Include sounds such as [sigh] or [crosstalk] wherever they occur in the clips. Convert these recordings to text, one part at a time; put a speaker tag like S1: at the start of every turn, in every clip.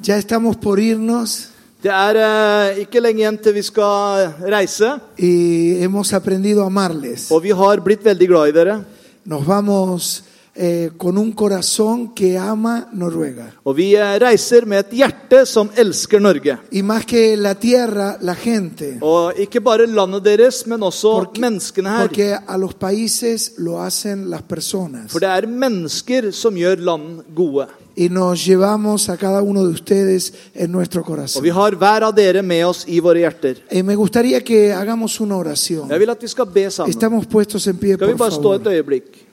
S1: Ya estamos por irnos
S2: Det er eh, ikke lenge igjen til vi skal reise.
S1: y hemos aprendido a amarles.
S2: Og vi har blitt veldig glad i dere.
S1: Nos vamos eh, con un corazón que ama Noruega.
S2: Og vi eh, reiser med et hjerte som elsker Norge.
S1: Y más que la tierra, la gente.
S2: Og ikke bare landet deres, men også
S1: Porque,
S2: menneskene her.
S1: porque a los países lo hacen las personas.
S2: For det er mennesker som gjør land gode.
S1: Y nos llevamos a cada uno de ustedes en nuestro
S2: Og
S1: corazón.
S2: vi har hver av dere med oss i våre hjerter.
S1: Eh, me gustaría que hagamos una oración.
S2: Jeg vil at vi skal be sammen.
S1: Estamos puestos en pie,
S2: Skal
S1: por
S2: vi bare stå et
S1: favor.
S2: øyeblikk?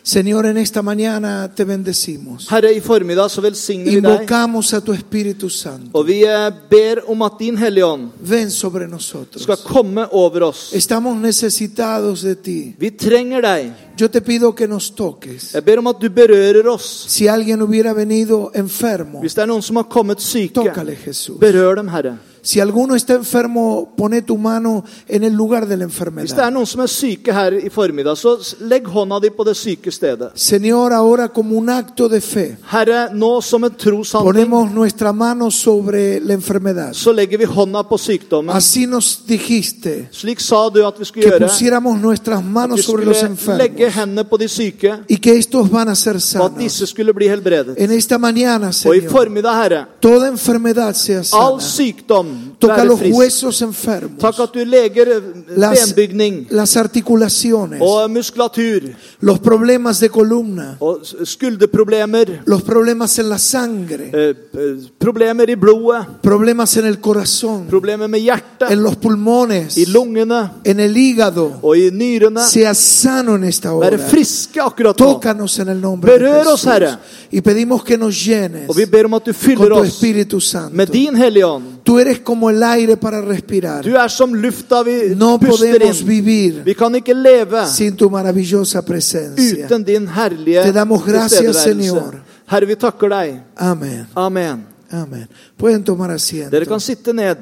S1: Señor, en esta mañana te bendecimos.
S2: Herre, i formiddag så velsigner vi deg.
S1: Invocamos a tu Espíritu Santo.
S2: Og vi eh, ber om at din Hellige Ånd
S1: Ven sobre nosotros.
S2: skal komme over oss.
S1: Estamos necesitados de ti.
S2: Vi trenger deg.
S1: Yo te pido que nos toques.
S2: Jeg ber om at du berører oss.
S1: Si alguien hubiera venido enfermo,
S2: Hvis det er noen som har kommet syke,
S1: tócale Jesús.
S2: berør dem, Herre.
S1: Si alguno está enfermo, pone tu mano en el lugar de la
S2: Hvis det er
S1: enfermedad.
S2: noen som er syke her i formiddag, så s- legg hånda di på det syke stedet.
S1: Señor, ahora como un acto de fe,
S2: Herre, nå som en troshandling,
S1: ponemos nuestra mano sobre la enfermedad.
S2: så legger vi hånda på sykdommen.
S1: Así nos dijiste
S2: Slik sa du at vi skulle
S1: que
S2: gjøre.
S1: pusiéramos nuestras
S2: Vi
S1: manos sobre los
S2: skulle legge
S1: enfermos
S2: hendene på de syke,
S1: y que estos van a ser
S2: og at
S1: sanos.
S2: disse skulle bli helbredet.
S1: En esta mañana,
S2: Og i
S1: Señor,
S2: formiddag, Herre,
S1: toda enfermedad sea sana.
S2: all sykdom
S1: Toca
S2: være
S1: los
S2: frisk.
S1: huesos enfermos,
S2: Takk at du leger eh,
S1: las,
S2: benbygning
S1: las articulaciones,
S2: og muskulatur
S1: los problemas de columna,
S2: og s- skulderproblemer,
S1: los problemas en la sangre,
S2: eh, eh, problemer i blodet.
S1: problemas en el corazón,
S2: Problemer med
S1: en
S2: hjertet,
S1: los pulmones,
S2: i lungene
S1: en el hígado.
S2: og i nyrene.
S1: Sea sano en esta
S2: Være
S1: hora.
S2: friske akkurat nå.
S1: Tócanos en el nombre de
S2: Beröros,
S1: Jesús.
S2: Herre.
S1: Y pedimos que nos llenes
S2: Og vi ber om at du
S1: con
S2: fyller
S1: tu
S2: oss
S1: Espíritu Santo.
S2: med din Hellige Ånd.
S1: Tú eres como el aire para respirar.
S2: Du er som lufta vi
S1: No
S2: puster
S1: podemos
S2: inn.
S1: vivir
S2: Vi kan ikke leve
S1: sin tu maravillosa presencia.
S2: uten din herlige
S1: Te damos gracias, Señor.
S2: tilstedeværelse. Herre, vi takker deg.
S1: Amén.
S2: Amen.
S1: Amén. Pueden tomar asiento.
S2: Dere kan sitte ned.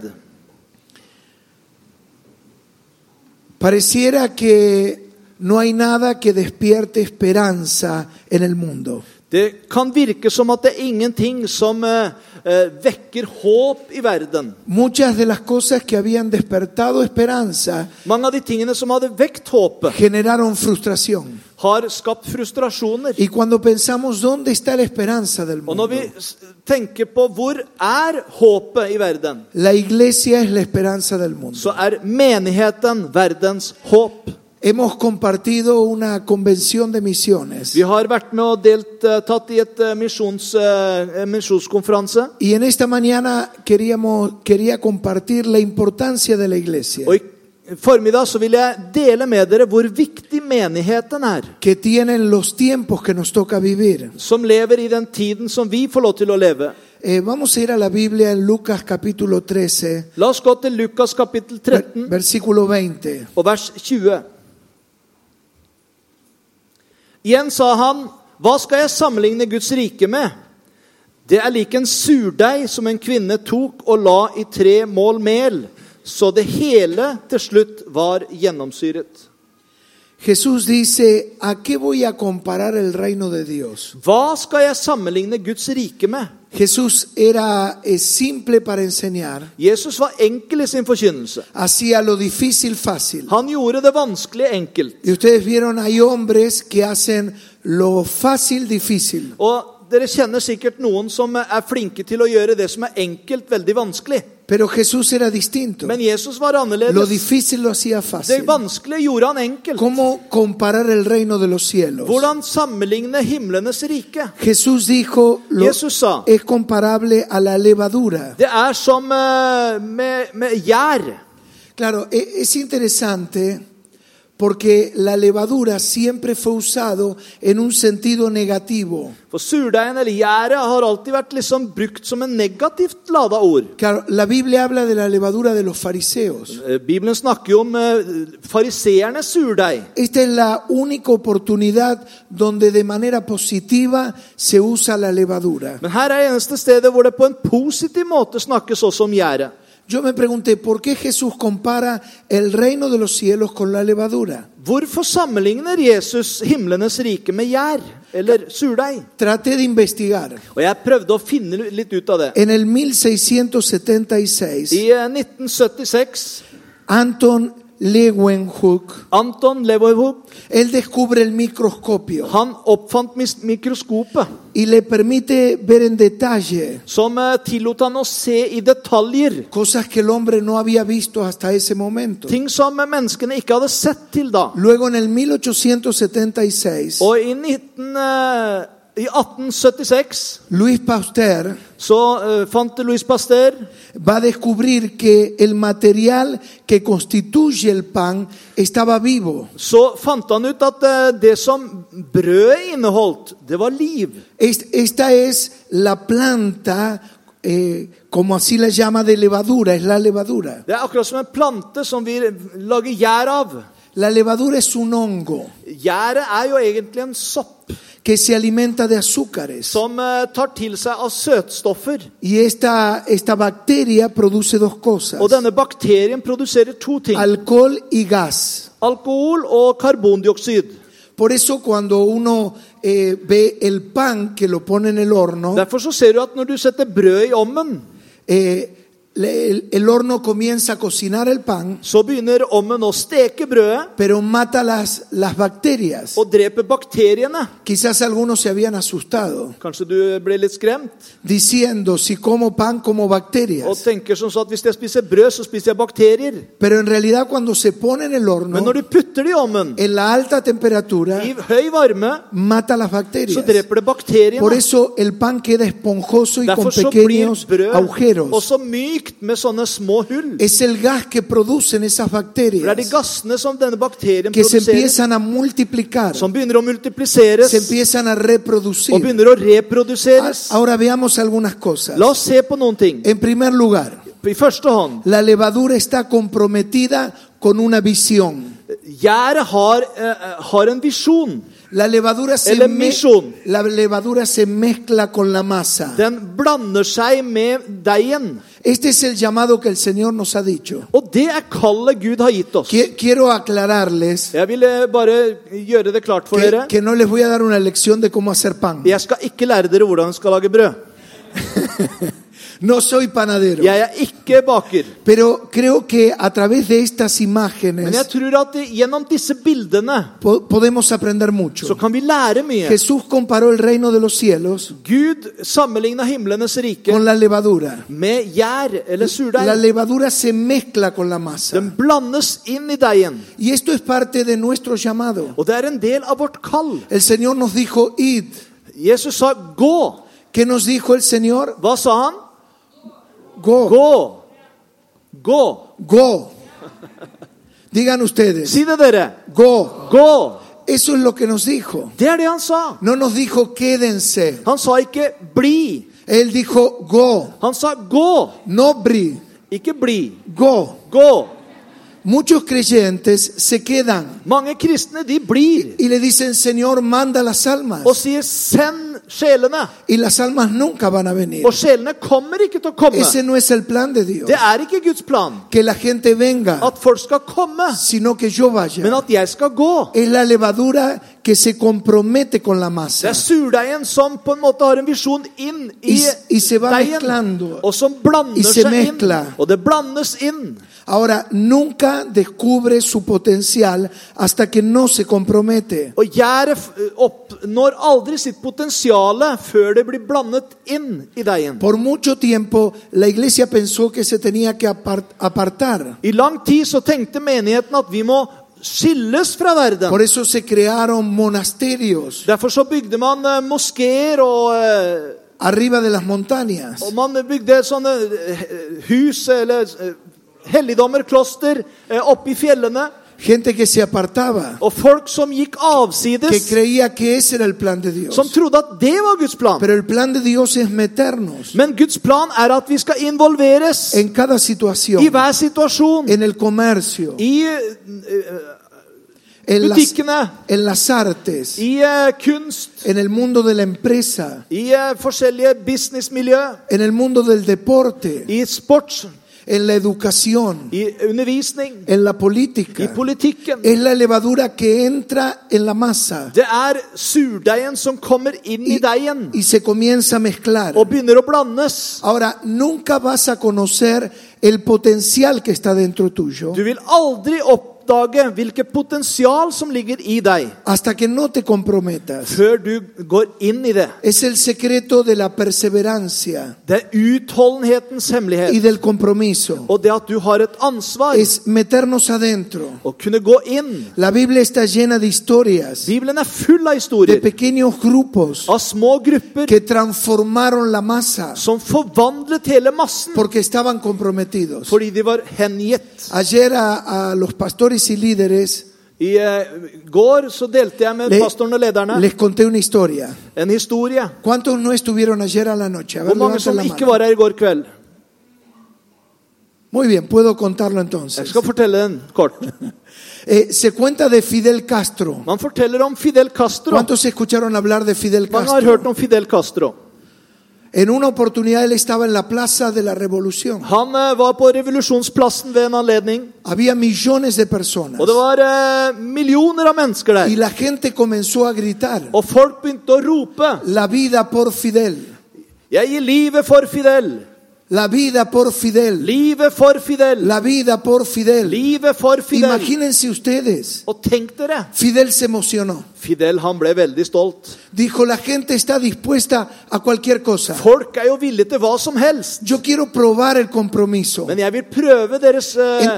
S1: Pareciera que no hay nada que despierte esperanza en el mundo.
S2: Det kan virke som at det er ingenting som eh, eh, vekker håp i verden.
S1: Muchas de las cosas que habían despertado esperanza
S2: Mange av de tingene som hadde vekt håpet,
S1: generaron frustración.
S2: har skapt frustrasjoner.
S1: Y cuando pensamos dónde está la esperanza del
S2: Og
S1: mundo,
S2: når vi s- tenker på hvor er håpet i verden,
S1: la iglesia es la esperanza del mundo.
S2: så er menigheten verdens håp.
S1: Hemos compartido una convención de misiones
S2: Vi har vært med og deltatt i et eh, misjons, eh, misjonskonferanse.
S1: y en esta mañana queríamos, quería compartir la importancia de la iglesia.
S2: Og i formiddag så vil jeg dele med dere hvor viktig menigheten er.
S1: que tienen los tiempos que nos toca vivir.
S2: Som lever i den tiden som vi får lov til å leve.
S1: Eh, vamos a ir a la Biblia en Lucas capítulo 13,
S2: La oss gå til Lukas kapittel
S1: ver-
S2: 13
S1: versículo 20.
S2: og vers 20. Igjen sa han, hva skal jeg sammenligne Guds rike med? Det er lik en surdeig som en kvinne tok og la i tre mål mel, så det hele til slutt var gjennomsyret.
S1: Jesús dice, ¿a qué voy a comparar el reino de Dios?
S2: Hva skal jeg sammenligne Guds rike med?
S1: Jesús era eh, simple para enseñar,
S2: Jesus var enkel i sin forkynnelse.
S1: hacía lo difícil fácil.
S2: Han gjorde det vanskelige enkelt.
S1: Y ustedes vieron, hay hombres que hacen lo fácil difícil.
S2: Og dere kjenner sikkert noen som er flinke til å gjøre det som er enkelt, veldig vanskelig.
S1: Pero Jesús era distinto.
S2: Men Jesus var
S1: Lo
S2: annerledes.
S1: difícil lo hacía
S2: Det
S1: fácil.
S2: vanskelige gjorde han enkelt.
S1: ¿Cómo comparar el reino de los cielos?
S2: Hvordan sammenligne himlenes rike?
S1: Jesús dijo, lo-
S2: Jesús sa-
S1: es comparable a la levadura.
S2: Det er som eh, med, med gjær.
S1: Claro, e- es interesante porque la levadura siempre fue usado en un sentido negativo.
S2: For surdeigen eller gjæret har alltid vært liksom brukt som en negativt lada ord.
S1: Claro, la Biblia habla de la levadura de los fariseos.
S2: Eh, Bibelen snakker jo om eh, fariseernes surdeig.
S1: Esta es la única oportunidad donde de manera positiva se usa la levadura.
S2: Men her er eneste stedet hvor det på en positiv måte snakkes også om gjæret.
S1: Yo me pregunté por qué Jesús compara el reino de los cielos con la levadura.
S2: Hvorfor sammenligner Jesus himlenes rike med gjær eller surdeig?
S1: Traté de investigar.
S2: Og jeg prøvde å finne litt ut av det.
S1: En el 1676,
S2: I eh, 1976
S1: Anton Leeuwenhoek,
S2: Anton Leverhoop
S1: él descubre el microscopio
S2: han oppfant mis- mikroskopet,
S1: y le permite ver en detalle
S2: som eh, tillot han å se i detaljer.
S1: cosas que el hombre no había visto hasta ese momento.
S2: Ting som eh, menneskene ikke hadde sett til da.
S1: Luego en el 1876,
S2: Og i, 19, eh, i 1876
S1: Luis Pasteur
S2: så eh, fant Louis Pasteur
S1: va a descubrir que el material que constituye el pan estaba vivo.
S2: Så fant han ut at eh, det som brødet inneholdt, det var liv.
S1: Es- Esta es la planta, eh, como así la llama, de levadura, es la levadura.
S2: Det er akkurat som en plante som vi lager gjær av.
S1: La levadura es un hongo
S2: Gjæret er jo egentlig en sopp
S1: que se alimenta de azúcares.
S2: som eh, tar til seg av søtstoffer.
S1: Y esta, esta bacteria produce dos cosas,
S2: Og denne bakterien produserer to ting.
S1: alcohol y gas.
S2: Alkohol og karbondioksid.
S1: Por eso cuando uno eh, ve el pan que lo pone en el horno,
S2: Derfor så ser du at når du setter brød i ommen,
S1: eh, le- el, el horno comienza a cocinar el pan,
S2: så begynner ommen å steke brødet
S1: pero mata las, las bacterias.
S2: og dreper bakteriene.
S1: Quizás algunos se habían asustado,
S2: Kanskje du ble litt skremt
S1: diciendo, si como pan como
S2: og
S1: bacterias.
S2: tenker som så at hvis jeg spiser brød, så spiser jeg bakterier.
S1: Pero en realidad cuando se pone en el horno,
S2: Men når du putter det i ovnen,
S1: en la alta temperatura,
S2: i høy varme,
S1: mata las
S2: så
S1: bacterias.
S2: dreper det bakteriene.
S1: Por eso el pan queda esponjoso y con
S2: Derfor så blir
S1: pequeños
S2: brød
S1: agujeros.
S2: også mykt med sånne små hull.
S1: Es el gas que producen esas
S2: For det er de
S1: bacterias
S2: gassene som denne bakterien
S1: que se
S2: produserer,
S1: empiezan a multiplicar,
S2: som
S1: se
S2: begynner å multipliseres
S1: empiezan a
S2: og
S1: reproducir. Ah,
S2: begynner å reproduseres.
S1: Ahora veamos algunas cosas.
S2: La oss se på noen ting.
S1: En primer lugar,
S2: I første hånd,
S1: la levadura está comprometida con una visión.
S2: gjæret har, eh, har en visjon.
S1: La levadura se,
S2: Ele mission.
S1: la levadura se mezcla con la masa.
S2: Den blander seg med deigen.
S1: Este es el llamado que el Señor nos ha dicho.
S2: Og det er kallet Gud har gitt oss.
S1: Qui- Quiero aclararles
S2: Jeg vil eh, bare gjøre det klart for
S1: que,
S2: dere.
S1: que no les voy a dar una lección de cómo hacer pan.
S2: Jeg skal ikke lære dere hvordan dere skal lage brød.
S1: No soy panadero,
S2: Jeg er ikke baker.
S1: pero creo que a través de estas
S2: Men jeg
S1: imágenes
S2: tror at gjennom disse bildene
S1: po- podemos aprender
S2: så
S1: mucho.
S2: kan vi lære mye.
S1: Jesús comparó el reino de los cielos
S2: Gud sammenligna himlenes rike
S1: con la levadura.
S2: med gjær eller
S1: La
S2: surdeig.
S1: levadura se mezcla con la
S2: Den
S1: masa.
S2: blandes inn i deigen.
S1: Y esto es parte de nuestro llamado.
S2: Og det er en del av vårt kall.
S1: El Señor nos dijo, id.
S2: Jesus sa 'gå'.
S1: ¿Qué nos dijo el Señor?
S2: Hva sa han?
S1: Go.
S2: 'Gå'. Gå.
S1: Go. Digan ustedes,
S2: Si det, dere.
S1: go.
S2: Gå.
S1: Eso es lo que nos dijo.
S2: Det er det han sa.
S1: No nos dijo quédense.
S2: Han sa ikke 'bli'.
S1: Él dijo go,
S2: Han sa 'gå',
S1: no bri,
S2: ikke 'bli'.
S1: go.
S2: Gå.
S1: Muchos creyentes se quedan
S2: Mange kristne, de blir.
S1: y le dicen, Señor, manda las almas.
S2: og sier 'send sjelene'.
S1: Y las almas nunca van a venir.
S2: Og sjelene kommer ikke til å komme.
S1: Ese no es el plan de Dios.
S2: Det er ikke Guds plan
S1: Que la gente venga,
S2: at folk skal komme,
S1: sino que yo
S2: men
S1: vaya.
S2: at jeg skal gå.
S1: Es la levadura que se compromete con la
S2: Det
S1: masa.
S2: er surdeigen som på en måte har en visjon inn i
S1: Y- y se va
S2: deigen,
S1: mezclando.
S2: og som blander
S1: Y se
S2: seg inn.
S1: mezcla.
S2: Og det blandes inn.
S1: Ahora, nunca descubre su potencial hasta que no se compromete.
S2: Og gjæret f- oppnår aldri sitt potensial før det blir blandet inn i deigen.
S1: Por mucho tiempo la iglesia pensó que se tenía que apart- apartar.
S2: I lang tid så tenkte menigheten at vi må skilles fra verden.
S1: Por eso se crearon monasterios
S2: Derfor så bygde man eh, moskeer og eh,
S1: arriba de las montañas.
S2: Og man bygde sånne eh, hus eller eh, helligdommer, kloster, eh, oppe i fjellene.
S1: Gente que se apartaba,
S2: og folk som gikk
S1: que
S2: avsides,
S1: creía que ese era el plan de Dios.
S2: som trodde at det var Guds plan.
S1: Pero el plan de Dios es meternos
S2: Men Guds plan er at vi skal involveres
S1: en cada
S2: i
S1: situación,
S2: hver situasjon.
S1: en el comercio,
S2: I eh,
S1: en las,
S2: butikkene,
S1: en las artes,
S2: i eh, kunst,
S1: en el mundo de la empresa,
S2: i eh, forskjellige businessmiljø,
S1: en el mundo del deporte,
S2: i sport,
S1: en la educación,
S2: i undervisning,
S1: en la
S2: i
S1: política.
S2: politikken.
S1: Es la levadura que entra en la masa
S2: Det er surdeigen som kommer inn i deigen
S1: y se comienza a mezclar.
S2: og begynner å blandes.
S1: Ahora, nunca vas a conocer el potencial que está dentro tuyo
S2: Du vil aldri oppdage hvilket potensial som ligger i deg,
S1: hasta que no te comprometas.
S2: før du går inn i det.
S1: Es el secreto de la perseverancia
S2: Det er utholdenhetens
S1: y
S2: hemmelighet.
S1: del compromiso.
S2: Og det at du har et ansvar
S1: Es meternos adentro.
S2: å kunne gå inn.
S1: La Biblia está llena de historias,
S2: Bibelen er full av
S1: de
S2: historier
S1: pequeños grupos
S2: av små grupper
S1: que transformaron la masa
S2: som forvandlet hele massen
S1: porque estaban comprometidos.
S2: fordi de var hengitt.
S1: Ayer a, a los pastores y líderes
S2: I eh, går så delte jeg med
S1: le-
S2: pastoren og lederne
S1: les conté una historia.
S2: en historie.
S1: ¿Cuántos no estuvieron ayer a la noche? A ver,
S2: Hvor mange
S1: levanten
S2: som
S1: la
S2: ikke
S1: mano.
S2: var her i går kveld?
S1: Muy bien, puedo contarlo
S2: Jeg
S1: entonces.
S2: skal fortelle den kort.
S1: Eh, se cuenta de Fidel Castro.
S2: Man forteller om Fidel Castro.
S1: ¿Cuántos escucharon hablar de Fidel
S2: Mange har hørt
S1: Castro?
S2: om Fidel Castro.
S1: En una oportunidad él estaba en la Plaza de la Revolución.
S2: Han eh, var på revolusjonsplassen ved en anledning.
S1: Había millones de personas.
S2: Og det var eh, millioner av mennesker
S1: Y
S2: der.
S1: la gente comenzó a gritar,
S2: Og folk begynte å rope
S1: la vida por Fidel,
S2: 'Jeg gir livet for Fidel'.
S1: la vida por Fidel,
S2: Livet for Fidel.
S1: la vida por Fidel.
S2: Livet for Fidel.
S1: Imagínense ustedes.
S2: Og tenk dere,
S1: Fidel se emocionó.
S2: Fidel han ble veldig stolt.
S1: Dijo, la gente está dispuesta a cualquier cosa.
S2: Folk er jo villige til hva som helst.
S1: Yo quiero probar el compromiso.
S2: Men jeg vil prøve deres eh,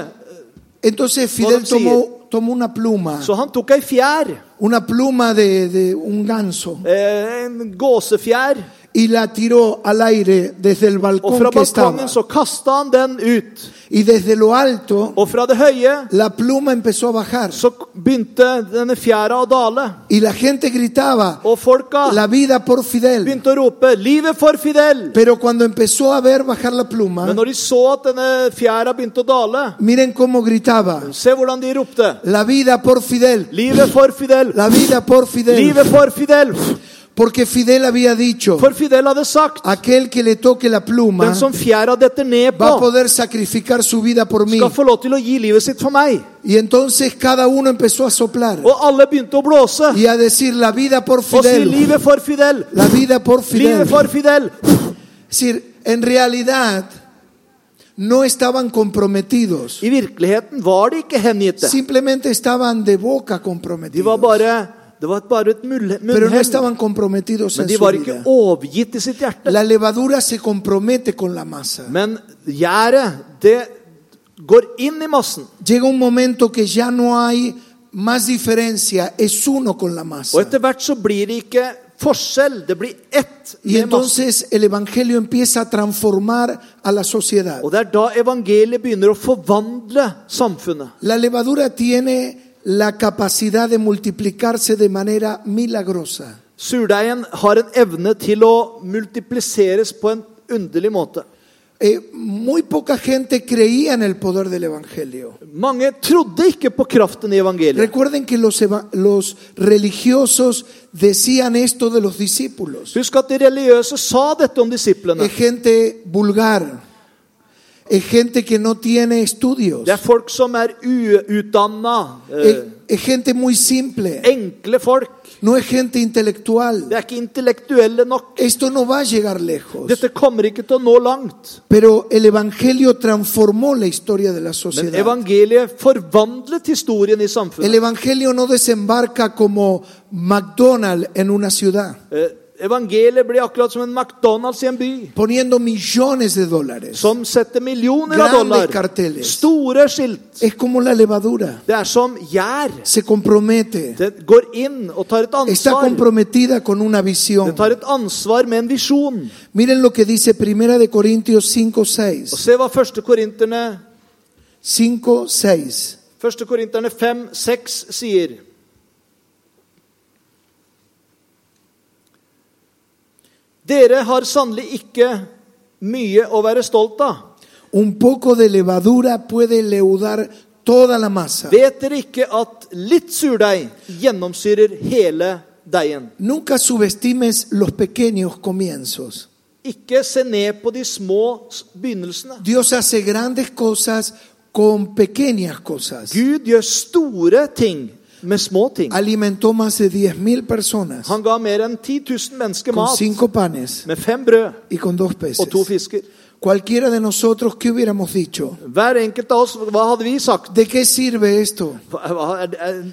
S1: Entonces Fidel
S2: Bueno, sí.
S1: tomó, tomó una pluma,
S2: Så han tok ei fjær.
S1: una pluma de, de un ganso,
S2: Eh, en gåsefjær.
S1: y la tiró al aire desde el
S2: Og
S1: balcón
S2: fra
S1: que estaba.
S2: balkongen så kasta han den ut.
S1: Y desde lo alto,
S2: Og fra det høye
S1: la pluma empezó a bajar.
S2: så begynte denne fjæra å dale.
S1: Y la gente gritaba,
S2: Og folka
S1: la vida por Fidel.
S2: begynte å rope 'Livet for Fidel'!
S1: Pero cuando empezó a ver bajar la pluma,
S2: Men når de så at denne fjæra begynte å dale,
S1: miren cómo gritaba,
S2: se hvordan de ropte.
S1: la vida por Fidel,
S2: 'Livet for Fidel!
S1: la vida por Fidel.
S2: Livet for Fidel!'
S1: Porque Fidel había dicho,
S2: For Fidel hadde sagt
S1: aquel que le toque la pluma
S2: Den som fjæra detter ned
S1: va a
S2: på,
S1: poder sacrificar su vida por mí.
S2: skal få lov til å gi livet sitt for meg.
S1: Y entonces cada uno empezó a soplar
S2: Og alle begynte å blåse
S1: y a decir la vida por
S2: og si
S1: Fidel,
S2: 'Livet for Fidel'!
S1: la vida por Fidel.
S2: Livet for Fidel!
S1: Es decir, en realidad no estaban comprometidos,
S2: I virkeligheten var de ikke hengitte.
S1: simplemente estaban de boca
S2: De var
S1: comprometidos,
S2: bare Det var bare et mulle-
S1: pero no
S2: munnhell.
S1: estaban comprometidos
S2: Men
S1: en
S2: de
S1: su
S2: var ikke
S1: vida.
S2: overgitt i sitt hjerte.
S1: La levadura se compromete con la masa.
S2: Men gjerdet, det går inn i massen.
S1: Llega un momento que ya no hay más diferencia, es uno con la masa.
S2: Og etter hvert så blir det ikke forskjell. Det blir ett
S1: Y
S2: med massen.
S1: entonces el Evangelio empieza a transformar a la sociedad.
S2: Og det er da evangeliet begynner å forvandle samfunnet.
S1: La levadura tiene la capacidad de multiplicarse de manera milagrosa.
S2: Surdeigen har en evne til å multipliseres på en underlig måte.
S1: Eh, muy poca gente creía en el poder del Evangelio.
S2: Mange trodde ikke på kraften i evangeliet.
S1: Recuerden que los, eva- los religiosos decían esto de los discípulos.
S2: Husk at de religiøse sa dette om disiplene.
S1: Es gente vulgar, es gente que no tiene estudios,
S2: Det er folk som er uutdanna,
S1: es,
S2: eh,
S1: es gente muy simple,
S2: enkle folk.
S1: no es gente intelectual.
S2: Det er ikke intellektuelle nok.
S1: Esto no va a llegar lejos.
S2: Dette kommer ikke til å nå langt.
S1: Pero el Evangelio transformó la historia de la
S2: Men
S1: sociedad.
S2: evangeliet forvandlet historien i
S1: El
S2: samfunnet.
S1: Evangelio no desembarca como McDonald's en una ciudad,
S2: Eh, Evangeliet blir akkurat som en McDonald's i en by.
S1: poniendo millones de dólares.
S2: Som setter millioner av
S1: Grandes
S2: dollar.
S1: carteles.
S2: Store skilt.
S1: Es como la levadura.
S2: Det er som gjær.
S1: Se compromete.
S2: Det går inn og tar et
S1: Está
S2: ansvar.
S1: comprometida con una
S2: Det
S1: visión.
S2: tar et ansvar med en visjon.
S1: Miren lo que dice Primera de Corintios 5,
S2: Og
S1: 6.
S2: se hva første korinterne
S1: 5, 6.
S2: 1. Korinterne 5, 6 sier Dere har sannelig ikke mye å være stolt av.
S1: Un poco de levadura puede leudar toda la masa.
S2: Vet dere ikke at litt surdeig gjennomsyrer hele deigen?
S1: Nunca subestimes los pequeños comienzos.
S2: Ikke se ned på de små s- begynnelsene.
S1: Dios hace grandes cosas con pequeñas cosas.
S2: Gud gjør store ting med små ting.
S1: Alimentó más de 10.000 personas
S2: Han ga mer enn 10 000 mennesker
S1: con
S2: mat
S1: cinco panes
S2: med fem brød
S1: y con dos peces.
S2: og to fisker.
S1: Cualquiera de nosotros, ¿qué hubiéramos dicho?
S2: Hver enkelt av oss, hva hadde vi sagt?
S1: ¿De qué sirve esto?
S2: Hva, hva er, det- er,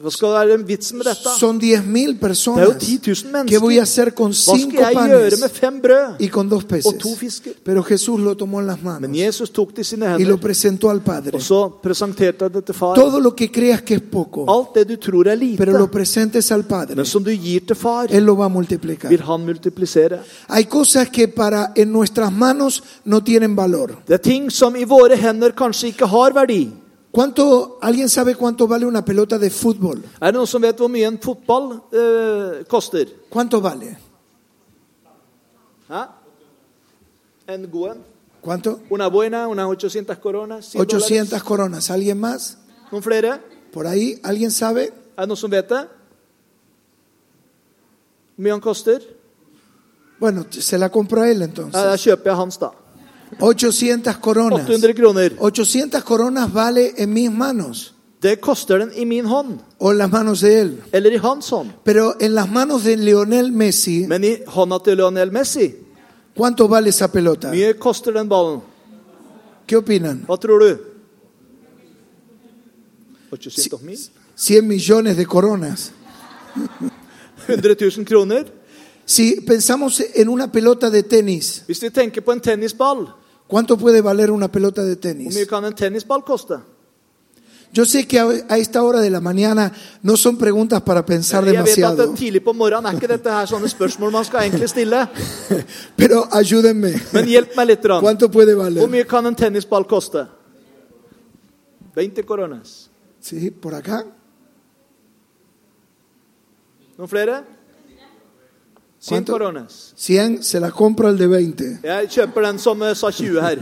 S2: hva skal være vitsen med dette?
S1: Son 10.000
S2: Det er jo
S1: personas.
S2: 10 000
S1: ¿Qué voy a
S2: mennesker.
S1: hacer con
S2: Hva skal
S1: cinco
S2: jeg gjøre
S1: panes
S2: med fem brød
S1: y con dos peces?
S2: og to fisker?
S1: Pero Jesús lo tomó en las manos
S2: Men Jesus tok det i sine
S1: y lo
S2: hender,
S1: presentó al Padre.
S2: og så presenterte han det til far.
S1: Todo lo que creas que es poco,
S2: Alt det du tror er
S1: pero lo
S2: lite,
S1: presentes al Padre,
S2: men som du gir til far,
S1: Él lo va a multiplicar.
S2: vil han multiplisere.
S1: Hay cosas que para en nuestras manos no tienen valor.
S2: Det er ting som i våre hender kanskje ikke har verdi.
S1: ¿Cuánto alguien sabe cuánto vale una pelota de fútbol?
S2: Er det noen som vet hvor mye en fotball eh, koster?
S1: ¿Cuánto vale?
S2: Hæ? En god en?
S1: ¿Cuánto?
S2: Una buena, una 800 coronas? 100 dólares?
S1: 800 coronas. ¿Alguien más?
S2: Noen flere?
S1: ¿Por ahí? ¿Alguien sabe?
S2: Er det noen som vet det? Hvor mye han koster?
S1: Bueno, t- se la compró a él
S2: Ja, da
S1: entonces.
S2: kjøper jeg hans, da.
S1: 800 coronas.
S2: 800 kroner.
S1: 800 coronas vale en mis manos
S2: Det koster den i min hånd.
S1: o en las manos de él.
S2: Eller i hans hånd.
S1: Pero en las manos de Lionel Messi,
S2: Men i hånda til Lionel Messi,
S1: ¿cuánto vale esa pelota?
S2: mye koster den ballen?
S1: ¿Qué opinan?
S2: Hva tror du? 800 mil?
S1: 100 millones de coronas.
S2: 100 000 kroner?
S1: Si pensamos en una pelota de tenis,
S2: Hvis vi tenker på en tennisball,
S1: ¿cuánto puede valer una pelota de
S2: hvor mye
S1: tenis?
S2: kan en tennisball koste?
S1: Yo sé que a a esta hora de la mañana no son preguntas para pensar
S2: Jeg vet at det
S1: demasiado,
S2: er tidlig på morgenen er ikke dette her sånne spørsmål man skal egentlig stille.
S1: [laughs] pero ayúdenme.
S2: Men hjelp meg litt. Rann.
S1: ¿Cuánto puede
S2: Hvor
S1: valer?
S2: mye kan en tennisball koste? 20 coronas.
S1: ¿Sí? ¿Por acá?
S2: Noen flere? 100
S1: Quanto?
S2: coronas.
S1: 100, se la compro al de 20.
S2: Jeg kjøper den som eh, sa 20 her.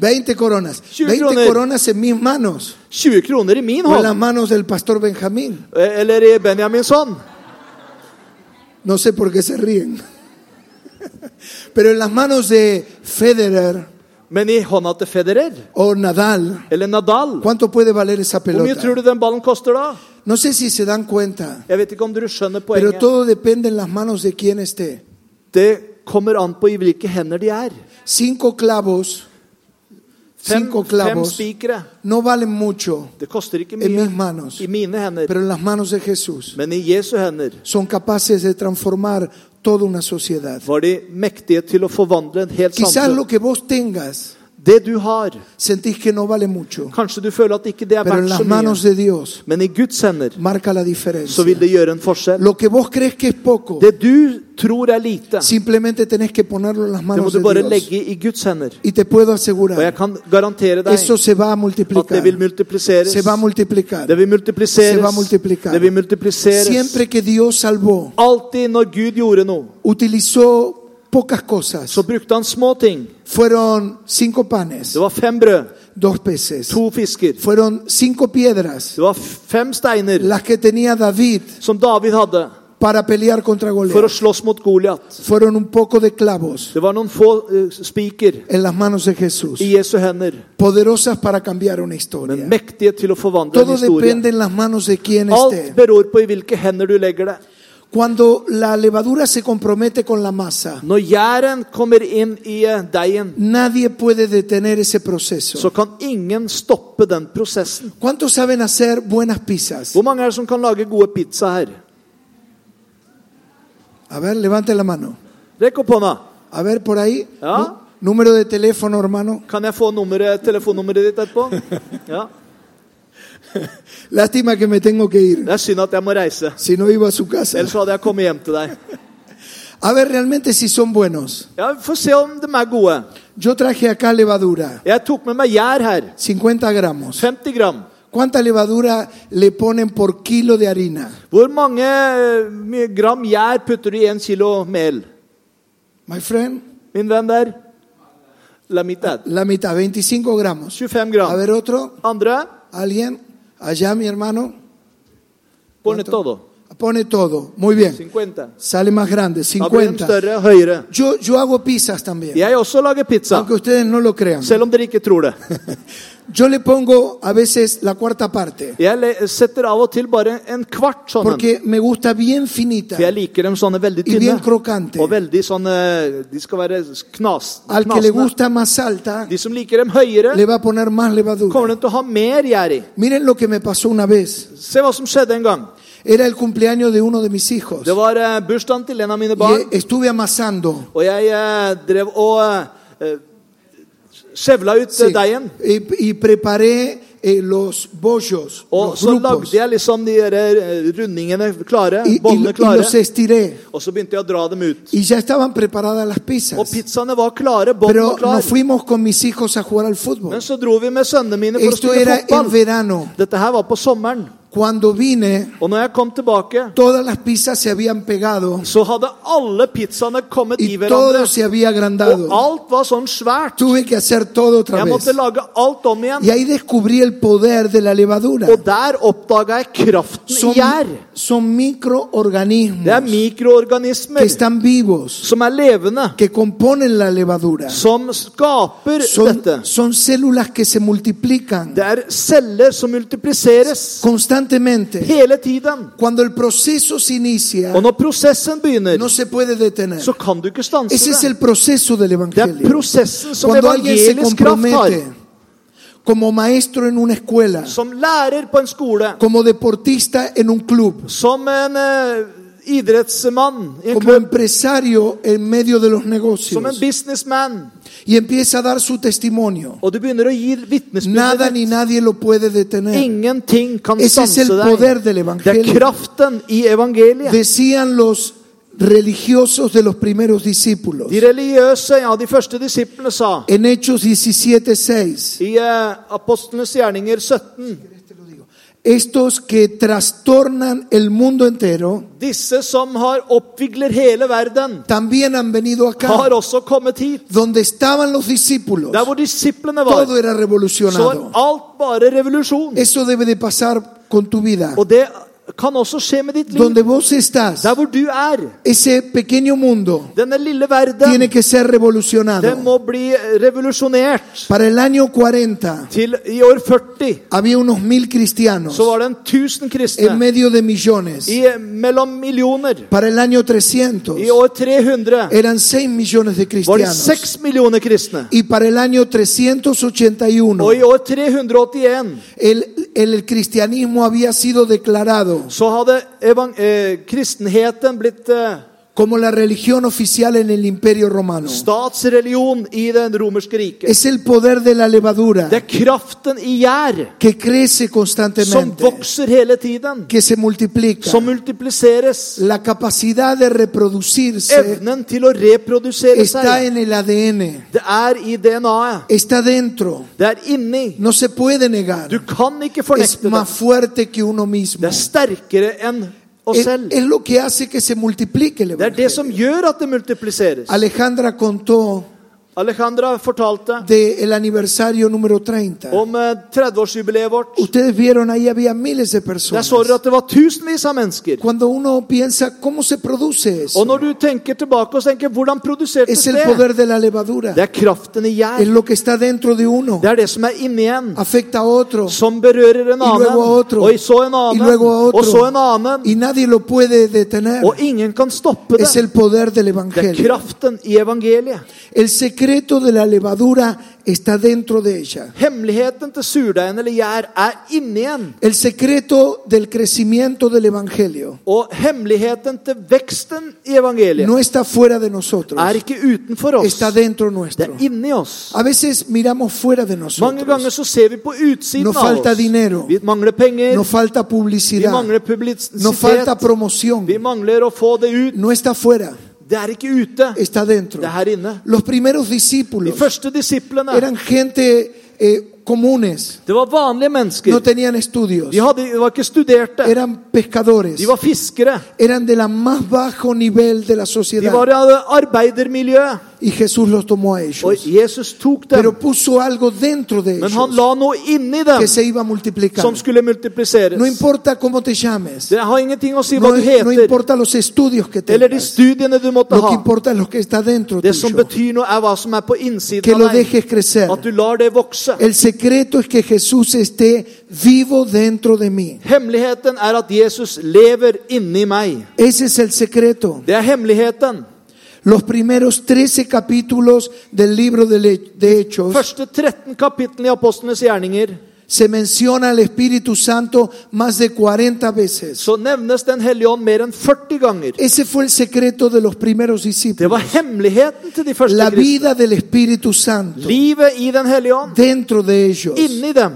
S1: 20 coronas.
S2: 20
S1: 20
S2: kroner.
S1: coronas en mis manos.
S2: 20 kroner i min
S1: O en las
S2: hånd.
S1: manos del pastor Benjamín.
S2: eh, Eller i Benjamins hånd.
S1: No sé por qué se ríen. Pero en las manos de Federer
S2: Men i hånda til Federer
S1: o Nadal,
S2: eller Nadal
S1: ¿cuánto puede valer esa
S2: Hvor mye
S1: pelota?
S2: tror du den ballen koster da?
S1: No sé si se dan cuenta,
S2: Jeg vet ikke om dere skjønner
S1: pero
S2: poenget.
S1: todo depende en las manos de quien esté.
S2: Det kommer an på i hvilke hender de er.
S1: Cinco clavos,
S2: Fem,
S1: cinco
S2: fem
S1: clavos,
S2: spikere.
S1: no valen mucho,
S2: Det koster ikke
S1: En
S2: mye
S1: mis manos.
S2: i mine hender,
S1: pero en las manos de Jesús
S2: men i Jesu hender
S1: son capaces de transformar toda una sociedad.
S2: var de mektige til å forvandle en helt
S1: Quizás
S2: samfunn.
S1: lo que vos tengas
S2: Det du har,
S1: sentís que no vale mucho,
S2: kanskje du føler at ikke det er
S1: pero en
S2: verdt
S1: las
S2: så mye,
S1: manos de Dios
S2: men i Guds hender
S1: marca la
S2: så
S1: diferencia.
S2: vil det gjøre en forskjell.
S1: Lo que vos crees que es poco,
S2: Det du tror er lite,
S1: simplemente tenés que ponerlo en las
S2: det må
S1: manos
S2: du
S1: de
S2: bare
S1: Dios.
S2: legge i Guds hender.
S1: Y te puedo
S2: Og jeg
S1: asegurar,
S2: kan garantere deg
S1: eso se va a
S2: at det vil
S1: multiplicar.
S2: multipliseres.
S1: Se va a multiplicar.
S2: Det vil multipliseres.
S1: Se va a multiplicar.
S2: Det vil multipliseres.
S1: Siempre que Dios salvó,
S2: Alltid når Gud gjorde noe,
S1: utilizó pocas cosas.
S2: så brukte han små ting.
S1: Fueron cinco panes,
S2: Det var fem brød,
S1: dos peces.
S2: to fisker.
S1: Fueron cinco piedras,
S2: Det var f- fem steiner
S1: las que tenía David
S2: som David hadde
S1: para pelear contra
S2: for å
S1: Goliat.
S2: slåss mot Goliat.
S1: Fueron un poco de clavos
S2: Det var noen få eh, spiker
S1: en las manos de Jesús,
S2: i Jesu hender,
S1: poderosas para cambiar una
S2: men
S1: historia.
S2: mektige til å forvandle en
S1: Todo
S2: historie.
S1: depende en las manos de quién
S2: Alt
S1: esté.
S2: beror på i hvilke hender du legger det.
S1: Cuando la levadura se compromete con la masa,
S2: Når gjæren kommer inn i eh, deigen,
S1: nadie puede detener ese
S2: så
S1: proceso.
S2: kan ingen stoppe den prosessen.
S1: ¿Cuántos saben hacer buenas pizzas?
S2: Hvor mange er det som kan lage gode pizza her?
S1: A ver, levante la mano.
S2: Rekk opp hånda.
S1: A ver, por ahí.
S2: Ja.
S1: Nu- Número de teléfono, hermano.
S2: Kan jeg få nummeret, telefonnummeret ditt etterpå? Ja.
S1: Lástima que me tengo que ir.
S2: Det er synd at jeg må reise.
S1: Si no iba a su casa.
S2: Ellers hadde jeg kommet hjem til deg.
S1: A ver, realmente si son buenos.
S2: Ja, Vi får se om de er gode.
S1: Yo traje acá levadura,
S2: Jeg tok med meg gjær her.
S1: 50 gramos.
S2: 50 gram.
S1: ¿Cuánta levadura le ponen por kilo de harina?
S2: Hvor mange eh, gram gjær putter du i en kilo mel?
S1: My friend,
S2: Min venn der? La mitad.
S1: la mitad, 25 gramos.
S2: 25
S1: A
S2: gram.
S1: ver, otro,
S2: Andre?
S1: alguien, allá mi hermano,
S2: Pone todo.
S1: pone todo. Muy bien.
S2: 50.
S1: Sale más grande,
S2: Da blir den
S1: 50.
S2: større, høyere.
S1: Yo, yo hago pizzas también,
S2: Jeg også lager pizza,
S1: aunque ustedes no lo crean.
S2: selv om dere ikke tror det.
S1: Yo le pongo a veces la cuarta parte,
S2: Jeg le- setter av og til bare en kvart sånn.
S1: porque me gusta bien finita.
S2: For jeg liker dem sånne veldig
S1: Y bien
S2: tynne.
S1: crocante.
S2: Og veldig sånne De skal være knas,
S1: Al que le
S2: knasende.
S1: gusta más alta,
S2: De som liker dem høyere,
S1: le va a poner más
S2: kommer
S1: levadura.
S2: de til å ha mer gjær i.
S1: Miren lo que me pasó una vez.
S2: Se hva som skjedde en gang.
S1: Era el cumpleaños de uno de mis hijos.
S2: Det var eh, bursdagen til en av mine barn.
S1: Y estuve amasando.
S2: Og jeg eh, drev og eh, skjevla ut eh,
S1: Sí.
S2: deigen.
S1: Y, y preparé eh, los bollos,
S2: Og
S1: los
S2: så lagde
S1: grupos.
S2: jeg liksom de der eh, rundingene klare.
S1: Y, y-
S2: Bollene
S1: y los
S2: klare.
S1: estiré.
S2: Og så begynte jeg å dra dem ut.
S1: Y ya estaban preparadas las
S2: Og
S1: pizzas.
S2: pizzaene var klare. Båndene
S1: Pero
S2: var
S1: nos
S2: klare.
S1: fuimos con mis hijos a jugar al fútbol.
S2: Men så dro vi med sønnene mine for å
S1: Esto
S2: spille
S1: era en
S2: fotball.
S1: verano.
S2: Dette her var på sommeren.
S1: Cuando vine,
S2: Og når jeg kom tilbake,
S1: todas las pizzas se habían pegado
S2: så hadde alle pizzaene kommet i
S1: y
S2: hverandre.
S1: todo se había
S2: Og
S1: agrandado.
S2: alt var sånn svært.
S1: Tuve que hacer todo otra
S2: Jeg
S1: vez.
S2: måtte lage alt om igjen.
S1: Y ahí descubrí el poder de la levadura.
S2: Og der oppdaga jeg kraften i
S1: Son,
S2: gjær.
S1: son
S2: Det er
S1: microorganismos que
S2: mikroorganismer
S1: están vivos,
S2: som er levende,
S1: que componen la levadura.
S2: som skaper
S1: Son,
S2: dette.
S1: son células que se multiplican
S2: Det er celler som multipliseres
S1: constantemente.
S2: hele tiden.
S1: Cuando el proceso se inicia,
S2: Og når prosessen begynner,
S1: no se puede detener.
S2: så kan du ikke stanse
S1: Ese es
S2: det.
S1: el proceso del
S2: Det er
S1: Evangelio.
S2: prosessen som
S1: Cuando alguien se
S2: evangelisk kraft har.
S1: compromete como maestro en una escuela,
S2: Som lærer på en skole,
S1: como deportista en un club,
S2: som en eh, idrettsmann i en
S1: como
S2: klubb,
S1: empresario en medio de los negocios,
S2: som en businessman,
S1: y empieza a dar su testimonio.
S2: og du begynner å gi pues,
S1: Nada
S2: vitnesbyrd
S1: ni nadie lo puede detener.
S2: Ingenting kan
S1: Ese es
S2: stanse
S1: el poder del
S2: deg. Det er
S1: evangelio.
S2: kraften i evangeliet.
S1: Decían los religiosos de los primeros discípulos
S2: De religiøse, ja, de første disiplene sa
S1: en Hechos 17:6,
S2: i eh, Apostlenes gjerninger 17
S1: estos que trastornan el mundo entero
S2: Disse som har oppvigler hele verden,
S1: también han venido acá,
S2: har også kommet hit.
S1: donde estaban los discípulos.
S2: Der hvor disiplene var,
S1: Todo era
S2: så var
S1: revolucionado.
S2: alt bare revolusjon.
S1: Eso debe de pasar con tu vida.
S2: Og det kan også skje med ditt liv.
S1: Donde vos estás,
S2: Der hvor du er.
S1: ese pequeño mundo
S2: Denne lille
S1: tiene
S2: verden,
S1: que ser
S2: den
S1: revolucionado.
S2: må bli eh, revolusjonert.
S1: Para el año 40
S2: Til i år 40
S1: había unos mil cristianos
S2: så var det en 1000
S1: en
S2: kristne.
S1: medio de millones.
S2: I, eh, mellom millioner.
S1: Para el año 300
S2: I år 300
S1: eran 6 millones de
S2: var det
S1: cristianos.
S2: 6 millioner kristne.
S1: Y para el año 381
S2: Og i år 381
S1: el, el cristianismo había sido declarado
S2: så hadde evan eh, kristenheten blitt eh,
S1: como la religión oficial en el imperio romano.
S2: statsreligion i den romerske riket.
S1: Es el poder de la levadura
S2: Det er kraften i gjær
S1: que crece
S2: som
S1: constantemente,
S2: vokser hele tiden,
S1: que se multiplica.
S2: som multipliseres.
S1: La capacidad de reproducirse
S2: Evnen til å reprodusere
S1: está
S2: seg.
S1: en el ADN,
S2: Det er i DNA-et.
S1: está dentro,
S2: Det er inni.
S1: no se puede negar.
S2: Du kan ikke
S1: Es
S2: fornekte det.
S1: más fuerte que uno
S2: Det
S1: mismo.
S2: er sterkere enn oss
S1: Es,
S2: selv.
S1: es lo que hace que se multiplique el
S2: Det er det
S1: evangelio.
S2: som gjør at det multipliseres.
S1: Alejandra contó
S2: Alejandra fortalte
S1: del aniversario número 30.
S2: om eh, 30-årsjubileet vårt.
S1: Ustedes vieron ahí había miles de
S2: Der
S1: personas.
S2: så dere at det var tusenvis av mennesker.
S1: Cuando uno piensa cómo se produce eso,
S2: Og når du tenker tilbake og tenker hvordan produserte
S1: es el
S2: det?
S1: poder de la levadura.
S2: Det er kraften i
S1: Es
S2: gjær.
S1: lo que está dentro de uno.
S2: Det er det som er inni en,
S1: Afecta a otro
S2: som berører en
S1: Y luego
S2: annen.
S1: a otro.
S2: Og så en
S1: y
S2: annen.
S1: luego a
S2: Og så en
S1: otro.
S2: annen.
S1: Y nadie lo puede detener.
S2: Og ingen kan stoppe
S1: Es
S2: det.
S1: el poder del
S2: Det er
S1: evangelio.
S2: kraften i evangeliet.
S1: El secreto de la levadura está dentro de ella.
S2: Hemmeligheten til surdeigen eller gjær er inni en.
S1: El secreto del crecimiento del evangelio
S2: Og hemmeligheten til veksten i evangeliet
S1: no está fuera de nosotros.
S2: er ikke utenfor oss.
S1: Está dentro
S2: Det
S1: nuestro.
S2: er inni oss.
S1: A veces miramos fuera de
S2: Mange ganger
S1: nosotros.
S2: så ser vi på utsiden
S1: Nos falta
S2: av
S1: dinero.
S2: oss. Vi mangler penger.
S1: Nos falta
S2: Vi
S1: publicidad.
S2: mangler
S1: Nos falta
S2: publisitet.
S1: promoción.
S2: Vi mangler å få det ut.
S1: No está fuera,
S2: Det er ikke ute.
S1: está dentro.
S2: Det er her inne.
S1: Los primeros
S2: De
S1: discípulos
S2: første disiplene
S1: eran gente eh, comunes,
S2: Det var vanlige mennesker.
S1: no tenían estudios,
S2: De, hadde, de var ikke studerte.
S1: eran pescadores,
S2: De var fiskere.
S1: eran de la más bajo nivel de la
S2: De
S1: sociedad.
S2: var i arbeidermiljø.
S1: Y Jesús los tomó a ellos,
S2: Og Jesus tok dem.
S1: pero puso algo dentro de
S2: Men han
S1: ellos
S2: la noe inni dem
S1: que se iba a multiplicar.
S2: som skulle multipliseres.
S1: No importa cómo te llames,
S2: Det har ingenting å si hva
S1: no,
S2: du
S1: no
S2: heter,
S1: importa los estudios que
S2: eller de
S1: tengas,
S2: studiene du måtte
S1: lo
S2: ha.
S1: que importa es lo que está dentro
S2: Det som
S1: tuyo,
S2: betyr noe, er hva som er på
S1: que
S2: innsiden
S1: lo
S2: av deg.
S1: dejes crecer.
S2: At du lar det vokse.
S1: El secreto es que Jesús esté vivo dentro de mí.
S2: Hemmeligheten er at Jesus lever inni meg.
S1: Ese es el secreto.
S2: Det er hemmeligheten.
S1: Los primeros 13 capítulos del libro de, Le- de Hechos
S2: Første 13 kapitlene i apostlenes gjerninger
S1: se menciona al Espíritu Santo más de 40 veces.
S2: så nevnes Den hellige ånd mer enn 40 ganger.
S1: Ese fue el secreto de los primeros
S2: Det
S1: discípulos.
S2: var hemmeligheten til de første
S1: La
S2: kristne.
S1: vida del Espíritu Santo
S2: Livet i Den hellige ånd.
S1: dentro de ellos.
S2: Inni dem.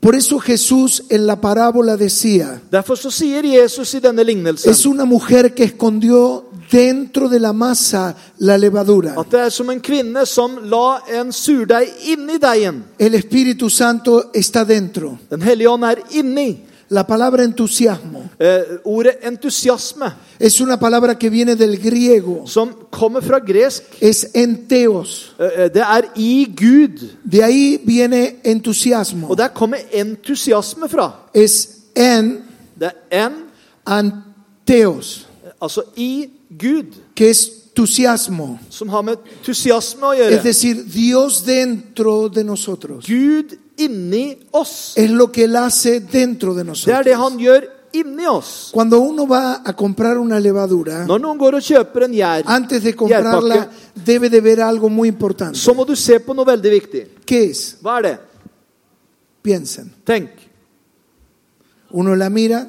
S1: Por eso Jesús en la parábola decía,
S2: Derfor så sier Jesus i denne lignelsen
S1: es una mujer que escondió dentro de la masa la levadura.
S2: At det er som en kvinne som la en surdeig inni deigen.
S1: El Espíritu Santo está dentro.
S2: Den hellige ånd er inni.
S1: La palabra entusiasmo
S2: Eh, ordet entusiasme,
S1: es una palabra que viene del griego.
S2: som kommer fra gresk,
S1: Es enteos.
S2: eh, eh, det er i Gud.
S1: De ahí viene entusiasmo.
S2: Og der kommer entusiasme fra.
S1: Es en
S2: Det er en,
S1: anteos,
S2: altså i Gud,
S1: que es entusiasmo.
S2: som har med entusiasme å
S1: Es
S2: gjøre.
S1: decir, Dios dentro de nosotros.
S2: Gud inni oss.
S1: Es lo que Él hace dentro de
S2: Det er det
S1: nosotros.
S2: han gjør inni oss.
S1: Cuando uno va a comprar una levadura,
S2: Når noen går og kjøper en gjær,
S1: antes de comprarla debe de ver algo muy importante.
S2: så må du se på noe veldig viktig.
S1: ¿Qué es?
S2: Hva er det?
S1: Piensen.
S2: Tenk.
S1: Uno la mira,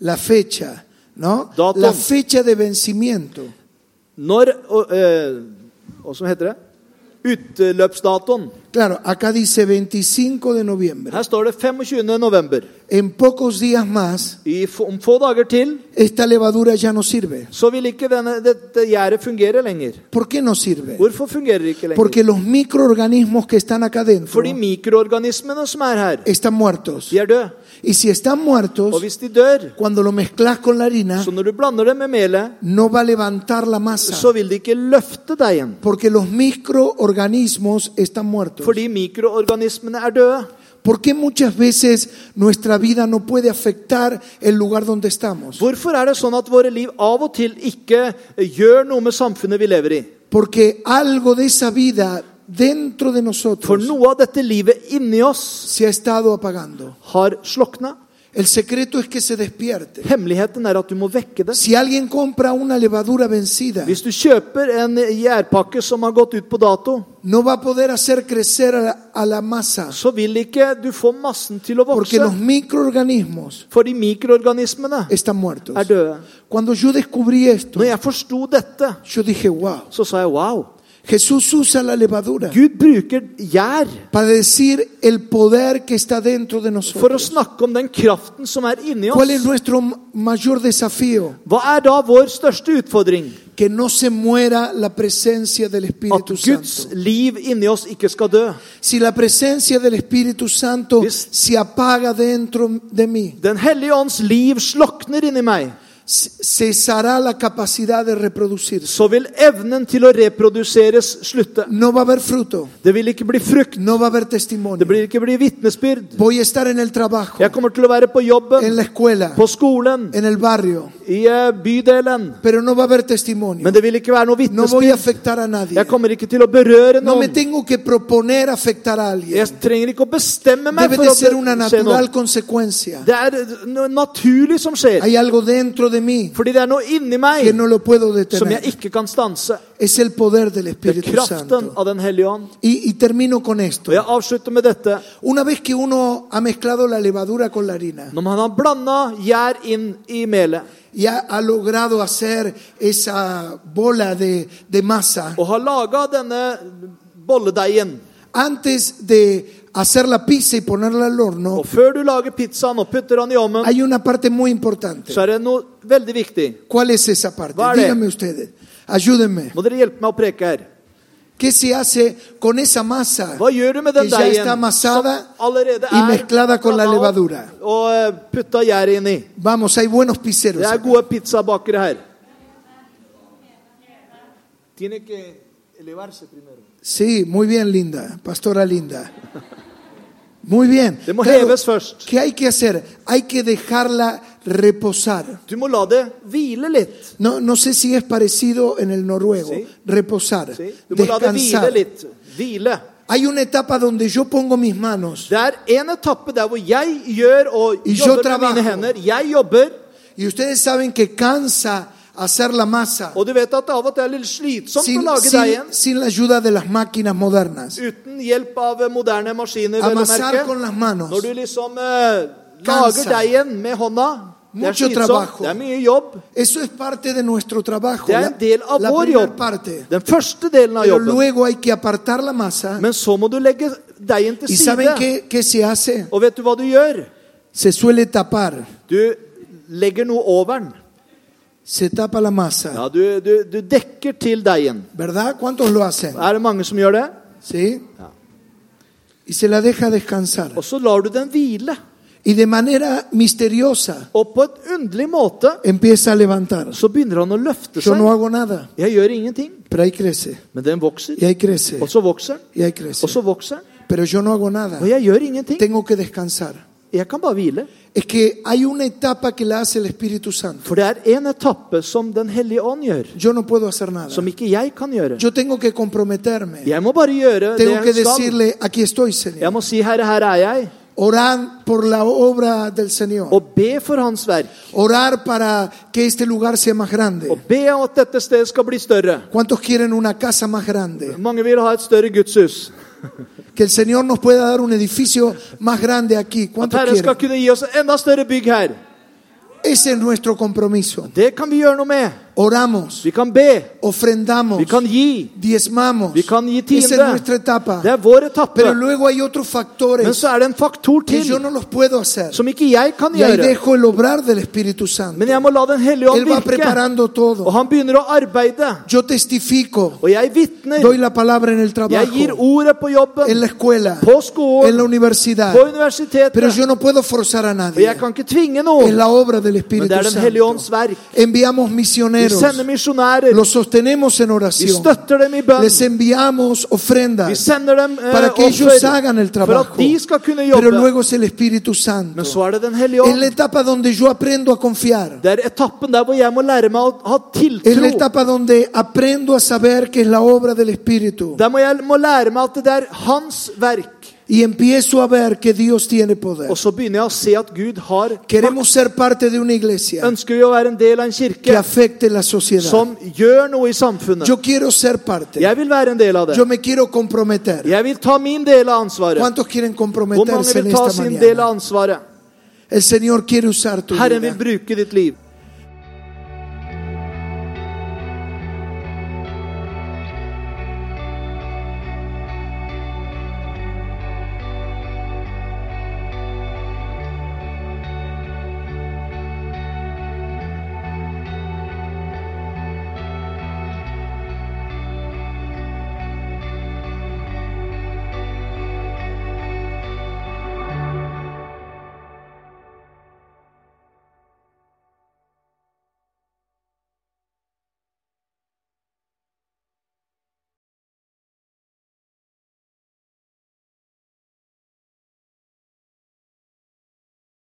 S1: la fecha, ¿no?
S2: Datum.
S1: La fecha de vencimiento.
S2: Når og, eh, Hva som heter det? Utløpsdatoen.
S1: Claro, acá dice 25 de noviembre.
S2: Her står det 25. november.
S1: En pocos días más,
S2: I, få- om få dager til
S1: esta levadura ya no sirve.
S2: så vil ikke denne, dette gjerdet fungere lenger.
S1: ¿Por qué no sirve?
S2: Hvorfor fungerer det ikke lenger?
S1: Porque los microorganismos que están acá dentro
S2: Fordi mikroorganismene som er her,
S1: están muertos.
S2: de er døde.
S1: Y si están
S2: Og
S1: muertos,
S2: hvis de dør,
S1: cuando lo mezclas con la harina,
S2: så når du blander det med melet,
S1: no va a levantar la
S2: så
S1: masa.
S2: vil de ikke løfte deg igjen.
S1: Porque los microorganismos están muertos.
S2: Fordi mikroorganismene er døde.
S1: ¿Por qué muchas veces nuestra vida no puede afectar el lugar donde estamos?
S2: Hvorfor er det sånn at våre liv av og til ikke gjør noe med samfunnet vi lever i?
S1: Porque algo de esa vida dentro de
S2: For
S1: nosotros
S2: noe av dette livet inni oss
S1: se ha estado apagando.
S2: har slokna.
S1: El secreto es que se despierte.
S2: Hemmeligheten er at du må vekke det.
S1: Si alguien compra una levadura vencida,
S2: Hvis du kjøper en gjærpakke som har gått ut på dato,
S1: no va a poder hacer crecer a la, a la masa,
S2: så vil ikke du få massen til å
S1: porque
S2: vokse.
S1: los microorganismos
S2: Fordi mikroorganismene
S1: están muertos.
S2: er døde.
S1: Cuando yo descubrí esto,
S2: Når jeg forsto dette,
S1: yo dije, wow,
S2: så sa jeg wow.
S1: Jesús usa la levadura
S2: Gud bruker gjær
S1: para decir el poder que está dentro de
S2: for å
S1: nosotros.
S2: snakke om den kraften som er inni
S1: ¿Cuál es
S2: oss.
S1: nuestro mayor desafío?
S2: Hva er da vår største utfordring?
S1: Que no se muera la presencia del
S2: At
S1: Espíritu
S2: Guds
S1: Santo.
S2: liv inni oss ikke skal dø.
S1: Si la presencia del Espíritu Santo
S2: Vis-
S1: se apaga dentro de mí,
S2: Den hellige ånds liv slokner inni meg.
S1: c- cesará la capacidad de reproducirse.
S2: Så vil evnen til å reproduseres slutte.
S1: No va a haber fruto,
S2: Det vil ikke bli frukt.
S1: no va a haber
S2: Det
S1: testimonio.
S2: blir ikke bli vitnesbyrd.
S1: Voy a estar en el trabajo,
S2: Jeg kommer til å være på
S1: en
S2: jobben,
S1: la escuela,
S2: på skolen,
S1: en el barrio,
S2: i eh, bydelen.
S1: pero no va a haber testimonio.
S2: Men det vil ikke være noe
S1: No voy a
S2: vitnesbyrd.
S1: afectar a nadie.
S2: Jeg kommer ikke til å berøre
S1: No me
S2: noen.
S1: tengo que proponer afectar a alguien.
S2: Jeg trenger ikke å bestemme meg
S1: Debe
S2: for
S1: de
S2: å
S1: ser una
S2: be- se
S1: natural
S2: noe.
S1: consecuencia.
S2: Det er noe naturlig som skjer.
S1: Hay algo dentro de mí
S2: Fordi det er noe inni
S1: que
S2: meg
S1: no lo puedo
S2: som jeg
S1: detener.
S2: ikke kan stanse.
S1: Es el poder del
S2: Det er
S1: Espíritu
S2: kraften
S1: Santo.
S2: av Den hellige ånd.
S1: Y, y termino con esto.
S2: Og jeg avslutter med dette.
S1: Una vez que uno ha mezclado la levadura con la harina
S2: Når man har blanda gjær inn i melet
S1: y ha, ha logrado hacer esa bola de, de masa,
S2: og har laga denne bolledeigen,
S1: antes de hacer la pizza y ponerla al horno,
S2: og før du lager pizzaen og putter den i ovnen,
S1: hay una parte muy importante.
S2: så er det noe veldig viktig.
S1: ¿Cuál es esa parte?
S2: Vale.
S1: Díganme ustedes. Ayúdenme.
S2: Må dere hjelpe meg å preke her.
S1: ¿Qué se hace con esa masa
S2: Hva gjør du med
S1: que
S2: den
S1: ya está
S2: deigen som
S1: amasada
S2: allerede
S1: y mezclada
S2: er
S1: con la
S2: blanda opp
S1: levadura?
S2: og eh, putta gjær inn i?
S1: Vamos, hay buenos pizzeros.
S2: Det er gode pizzabakere her. Tiene que elevarse primero.
S1: Sí, muy bien, Linda, pastora Linda. Muy bien.
S2: Det må
S1: Claro,
S2: heves først.
S1: ¿Qué hay que hacer? Hay que dejarla reposar.
S2: Du må la det hvile litt.
S1: No, no sé si es parecido en el noruego.
S2: Sí.
S1: Reposar,
S2: Si? Du må la det hvile
S1: descansar.
S2: litt. Hvile.
S1: Hay una etapa donde yo pongo mis manos
S2: Det er en etappe der hvor jeg gjør og
S1: I
S2: jobber med
S1: trabajo.
S2: mine hender. Jeg jobber,
S1: y ustedes saben que cansa hacer la masa
S2: og du vet at det av og til er litt slitsomt
S1: sin,
S2: å lage
S1: sin-
S2: deigen.
S1: sin la ayuda de las máquinas modernas.
S2: Uten hjelp av moderne maskiner, vel å
S1: Amasar
S2: merke.
S1: con las manos.
S2: Når du liksom eh,
S1: Cansa.
S2: lager deigen med hånda Det
S1: Mucho
S2: er slitsomt.
S1: trabajo.
S2: Det er mye jobb.
S1: Eso es parte de nuestro trabajo.
S2: Det er
S1: La,
S2: en del av
S1: la
S2: vår
S1: primera
S2: jobb.
S1: parte.
S2: Den første delen av
S1: Pero
S2: jobben.
S1: luego hay que apartar la masa.
S2: Men så må du legge deigen til
S1: ¿Y saben
S2: side.
S1: qué, qué se hace?
S2: Og vet du hva du gjør?
S1: Se suele tapar.
S2: Du legger noe over den.
S1: Se tapa la masa.
S2: Ja, du, du, du dekker til deigen.
S1: ¿Verdad? ¿Cuántos lo hacen?
S2: Er det mange som gjør det?
S1: ¿Sí?
S2: Ah.
S1: Y se la deja descansar.
S2: Og så lar du den hvile.
S1: Y de manera misteriosa
S2: Og på et underlig måte
S1: empieza a levantar.
S2: så begynner han å løfte
S1: Yo
S2: seg.
S1: no hago nada,
S2: Jeg gjør ingenting,
S1: pero ahí crece.
S2: men den vokser.
S1: Y ahí crece.
S2: Og så vokser den.
S1: Y ahí crece.
S2: Og så vokser den.
S1: Pero yo no hago nada.
S2: Og jeg gjør ingenting.
S1: Tengo que descansar.
S2: Jeg kan bare hvile.
S1: Es que hay una etapa que la hace el Espíritu Santo.
S2: For det er en etappe som Den hellige ånd gjør,
S1: Yo no puedo hacer nada.
S2: som ikke jeg kan gjøre.
S1: Yo tengo que comprometerme.
S2: Jeg må bare gjøre det
S1: Tengo que
S2: jeg skal.
S1: decirle, aquí estoy, Señor.
S2: Jeg må si, 'Herre, her er jeg',
S1: Orar por la obra del Señor.
S2: og be for Hans verk.
S1: Orar para que este lugar sea más
S2: Og
S1: grande.
S2: be om at dette stedet skal bli større.
S1: ¿Cuántos quieren una casa más grande?
S2: Mange vil ha et større gudshus.
S1: Que el Señor nos pueda dar un edificio más grande aquí.
S2: At
S1: ¿Cuántos
S2: Herren skal
S1: quieren?
S2: kunne gi oss et enda større bygg her.
S1: Ese es nuestro compromiso.
S2: Det kan vi gjøre noe med.
S1: Oramos,
S2: Vi kan be.
S1: ofrendamos,
S2: Vi kan gi.
S1: diezmamos.
S2: Vi kan gi
S1: Esa es nuestra
S2: tiende.
S1: etapa.
S2: Det er vår
S1: Pero
S2: etappe.
S1: luego hay otros
S2: Men
S1: factores
S2: så er det en faktor
S1: que
S2: til
S1: yo no los puedo hacer.
S2: som ikke jeg kan
S1: Y ahí
S2: gjøre.
S1: dejo el obrar del Espíritu Santo.
S2: Men jeg må la Den hellige ånd
S1: Él va
S2: virke.
S1: preparando
S2: Og
S1: todo.
S2: han begynner å arbeide.
S1: Yo testifico,
S2: Og jeg vitner.
S1: doy la palabra en el
S2: Jeg gir
S1: trabajo,
S2: ordet på
S1: en
S2: jobben,
S1: la escuela,
S2: på skolen,
S1: en la universidad.
S2: på
S1: Pero
S2: universitetet.
S1: yo no puedo forzar a
S2: Og
S1: nadie.
S2: jeg kan ikke tvinge
S1: Es
S2: noen.
S1: la obra del
S2: Men
S1: Espíritu
S2: det er Den hellige ånds
S1: Santo.
S2: verk.
S1: Enviamos
S2: Vi
S1: misioneros,
S2: sender misjonærer.
S1: los sostenemos en
S2: Vi
S1: oración,
S2: støtter dem i bønn.
S1: les enviamos
S2: Vi
S1: ofrendas
S2: sender dem eh,
S1: para que ellos hagan el
S2: offer for at
S1: trabajo.
S2: de skal kunne
S1: Pero
S2: jobbe.
S1: luego es el Espíritu Santo.
S2: Men så er det Den hellige
S1: Es la
S2: ånd.
S1: etapa donde yo aprendo a confiar.
S2: Det er etappen der hvor jeg må lære meg å ha
S1: Es la
S2: tiltro.
S1: etapa donde aprendo a saber que es la obra del Espíritu.
S2: Der må jeg må lære meg at det er Hans verk.
S1: Y empiezo a ver que Dios tiene poder.
S2: Og så begynner jeg å se at Gud har makt.
S1: Queremos ser parte de una iglesia
S2: Ønsker vi å være en del av en
S1: que
S2: kirke
S1: afecte la sociedad.
S2: som gjør noe i samfunnet?
S1: Yo quiero ser parte.
S2: Jeg vil være en del av det.
S1: Yo me quiero comprometer.
S2: Jeg vil ta min del av ansvaret.
S1: ¿Cuántos quieren
S2: Hvor mange
S1: comprometerse en
S2: vil ta
S1: esta
S2: sin del
S1: mañana?
S2: av ansvaret?
S1: El Señor quiere usar tu
S2: Herren vil
S1: vida.
S2: bruke ditt liv.